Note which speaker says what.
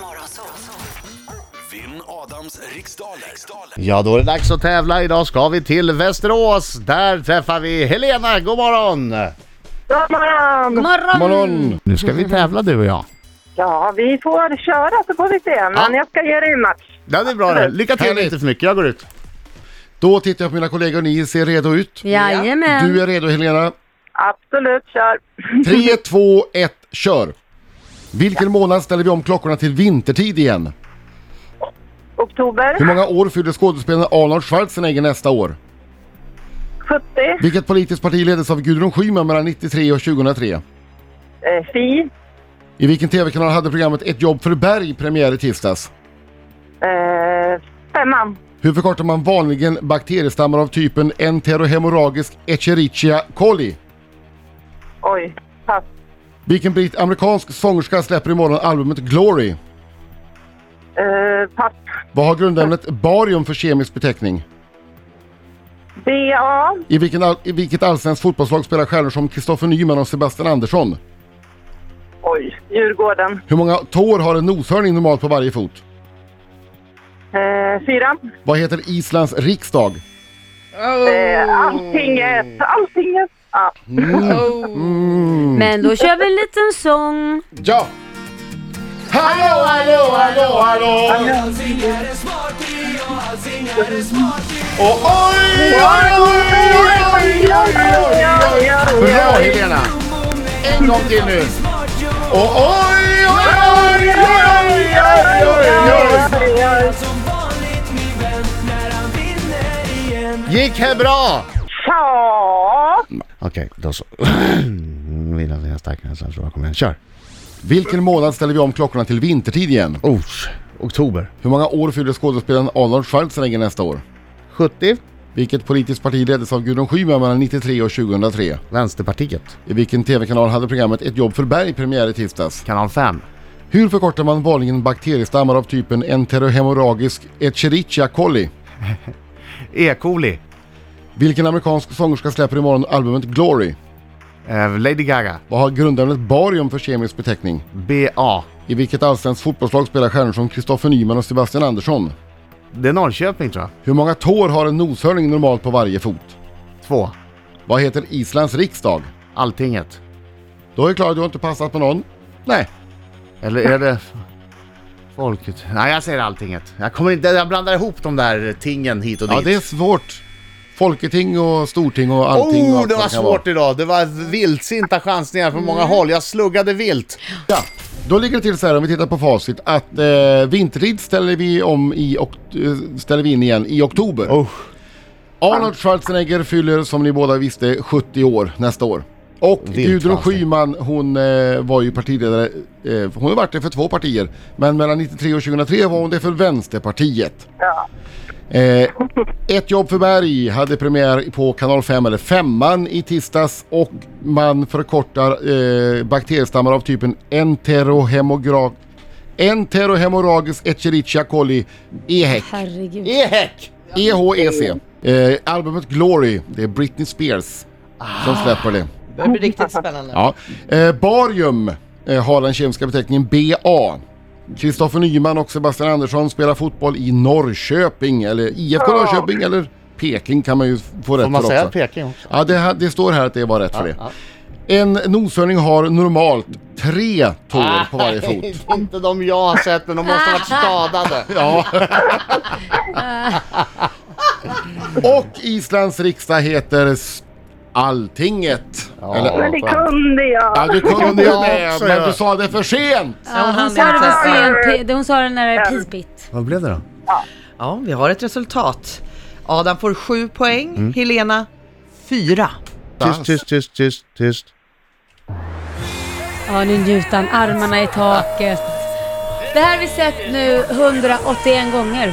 Speaker 1: Morgonzoo. Vinn Adams riksdaler. riksdaler.
Speaker 2: Ja, då är det dags att tävla. Idag ska vi till Västerås. Där träffar vi Helena. God morgon!
Speaker 3: God morgon!
Speaker 4: Morgon!
Speaker 2: Nu ska vi tävla du och jag.
Speaker 3: Ja, vi får köra så får vi se. Men
Speaker 2: Ja.
Speaker 3: jag ska ge dig en match.
Speaker 2: Ja, det är bra det. Lycka till,
Speaker 5: Härligt.
Speaker 2: inte för mycket. Jag går ut.
Speaker 5: Då tittar jag på mina kollegor, ni ser redo ut.
Speaker 4: Jajamän!
Speaker 5: Du är redo Helena.
Speaker 3: Absolut, kör.
Speaker 5: 3, 2, 1, kör! Vilken månad ställer vi om klockorna till vintertid igen?
Speaker 3: Oktober
Speaker 5: Hur många år fyller skådespelaren Arnold Schwarzenegger nästa år?
Speaker 3: 70,
Speaker 5: Vilket politiskt parti leddes av Gudrun Schyman mellan 93 och 2003?
Speaker 3: eh, Fi,
Speaker 5: I vilken TV-kanal hade programmet Ett jobb för Berg premiär i tisdags?
Speaker 3: eh, femman,
Speaker 5: Hur förkortar man vanligen bakteriestammar av typen enterohemorragisk Escherichia coli?
Speaker 3: oj, pass,
Speaker 5: Vilken britt-amerikansk sångerska släpper imorgon albumet Glory?
Speaker 3: eh, pass,
Speaker 5: Vad har grundämnet barium för kemisk beteckning?
Speaker 3: BA,
Speaker 5: I, vilken all, I vilket allsvenskt fotbollslag spelar stjärnor som Kristoffer Nyman och Sebastian Andersson?
Speaker 3: oj, Djurgården,
Speaker 5: Hur många tår har en noshörning normalt på varje fot?
Speaker 3: eh, fyra.
Speaker 5: Vad heter Islands riksdag?
Speaker 3: Eh, allting är ett, allting är ett. Ja.
Speaker 4: Men då kör vi en liten sång.
Speaker 5: Mm, Ja! Hallå, hallå, hallå, hallå! Och oj, oj, oj, oj, oj, oj, oj, oj! Bra Helena! En gång till nu! Och oj, oj, oj, oj, oj, oj, oj!
Speaker 2: Gick här bra?
Speaker 3: Ja,
Speaker 2: Okej, då så. Vill att jag är starkare än så. Kom igen, kör.
Speaker 5: Vilken månad ställer vi om klockorna till vintertid igen?
Speaker 2: Oh, oktober.
Speaker 5: Hur många år fyller skådespelaren Arnold Schwarzenegger nästa år?
Speaker 2: 70.
Speaker 5: Vilket politiskt parti leddes av Gudrun Schyman mellan 93 och 2003?
Speaker 2: Vänsterpartiet.
Speaker 5: I vilken TV-kanal hade programmet Ett jobb för Berg premiär i tisdags?
Speaker 2: Kanal 5.
Speaker 5: Hur förkortar man vanligen bakteriestammar av typen enterohemorragisk Escherichia coli?
Speaker 2: E. coli.
Speaker 5: Vilken amerikansk sångerska släpper imorgon albumet Glory?
Speaker 2: Eh, Lady Gaga.
Speaker 5: Vad har grundämnet barium för kemisk beteckning?
Speaker 2: BA.
Speaker 5: I vilket allsvenskt fotbollslag spelar stjärnor som Kristoffer Nyman och Sebastian Andersson?
Speaker 2: Det är Norrköping tror jag.
Speaker 5: Hur många tår har en noshörning normalt på varje fot?
Speaker 2: Två.
Speaker 5: Vad heter Islands riksdag?
Speaker 2: Alltinget.
Speaker 5: Då är det klart, du har inte passat på någon. Nej.
Speaker 2: Eller är det... Folket? Nej, jag säger Alltinget. Jag kommer inte... Jag blandar ihop de där tingen hit och dit.
Speaker 5: Ja, det är svårt. Folketing och storting och allting. och
Speaker 2: Oh,
Speaker 5: allt
Speaker 2: det
Speaker 5: vad
Speaker 2: var
Speaker 5: kan
Speaker 2: svårt idag. Det var vildsinta chansningar från
Speaker 6: Mm.
Speaker 2: många håll. Jag sluggade vilt.
Speaker 5: vara. Ja. Då ligger det till så här om vi tittar på facit att eh, vintertid ställer vi om i och, eh, ställer vi in igen i oktober. Arnold Schwarzenegger fyller som ni båda visste 70 år nästa år. Och
Speaker 2: Vilt
Speaker 5: Gudrun
Speaker 2: vansinnigt.
Speaker 5: Schyman hon eh, var ju partiledare, eh, hon har varit det för två partier. Men mellan 93 och 2003 var hon det för Vänsterpartiet.
Speaker 3: ja.
Speaker 5: Eh, ett jobb för Berg hade premiär på kanal 5 eller 5 i tisdags och man förkortar eh, bakteriestammar av typen enterohemorag enterohemorragisk Escherichia coli E EHEC.
Speaker 4: Herregud.
Speaker 2: Ehek!
Speaker 5: E EHEC. Eh, albumet Glory, det är Britney Spears som släpper det.
Speaker 6: Det blir riktigt spännande.
Speaker 5: Ja. Eh, barium eh, har den kemiska beteckningen BA. Kristoffer Nyman och Sebastian Andersson spelar fotboll i Norrköping, eller IFK Norrköping eller Peking kan man ju få rätt
Speaker 2: Får man
Speaker 5: för
Speaker 2: säga
Speaker 5: också.
Speaker 2: Peking också?
Speaker 5: Ja, det, här- det står här att det var rätt för det. En noshörning har normalt tre tår
Speaker 2: Ah.
Speaker 5: på varje fot.
Speaker 2: Nej, det är inte de jag har sett, men de måste ha varit skadade.
Speaker 5: Ja. och Islands riksdag heter s- Alltinget.
Speaker 2: Ja.
Speaker 3: Men det kunde
Speaker 5: Ja,
Speaker 3: jag.
Speaker 5: du kunde ju
Speaker 2: Jag
Speaker 5: det,
Speaker 2: också, ja.
Speaker 5: men du sa det för sent!
Speaker 4: Ja, hon,
Speaker 6: hann
Speaker 4: sa det
Speaker 6: inte.
Speaker 4: för sent. Pe- Hon sa det när det är pipigt.
Speaker 2: Vad blev det då?
Speaker 6: Ja, vi har ett resultat. Adam får sju poäng, Helena fyra.
Speaker 2: Tyst, tyst, tyst, tyst, tyst.
Speaker 4: Ja, nu njuter han. Armarna i taket. Det här har vi sett nu 181 gånger.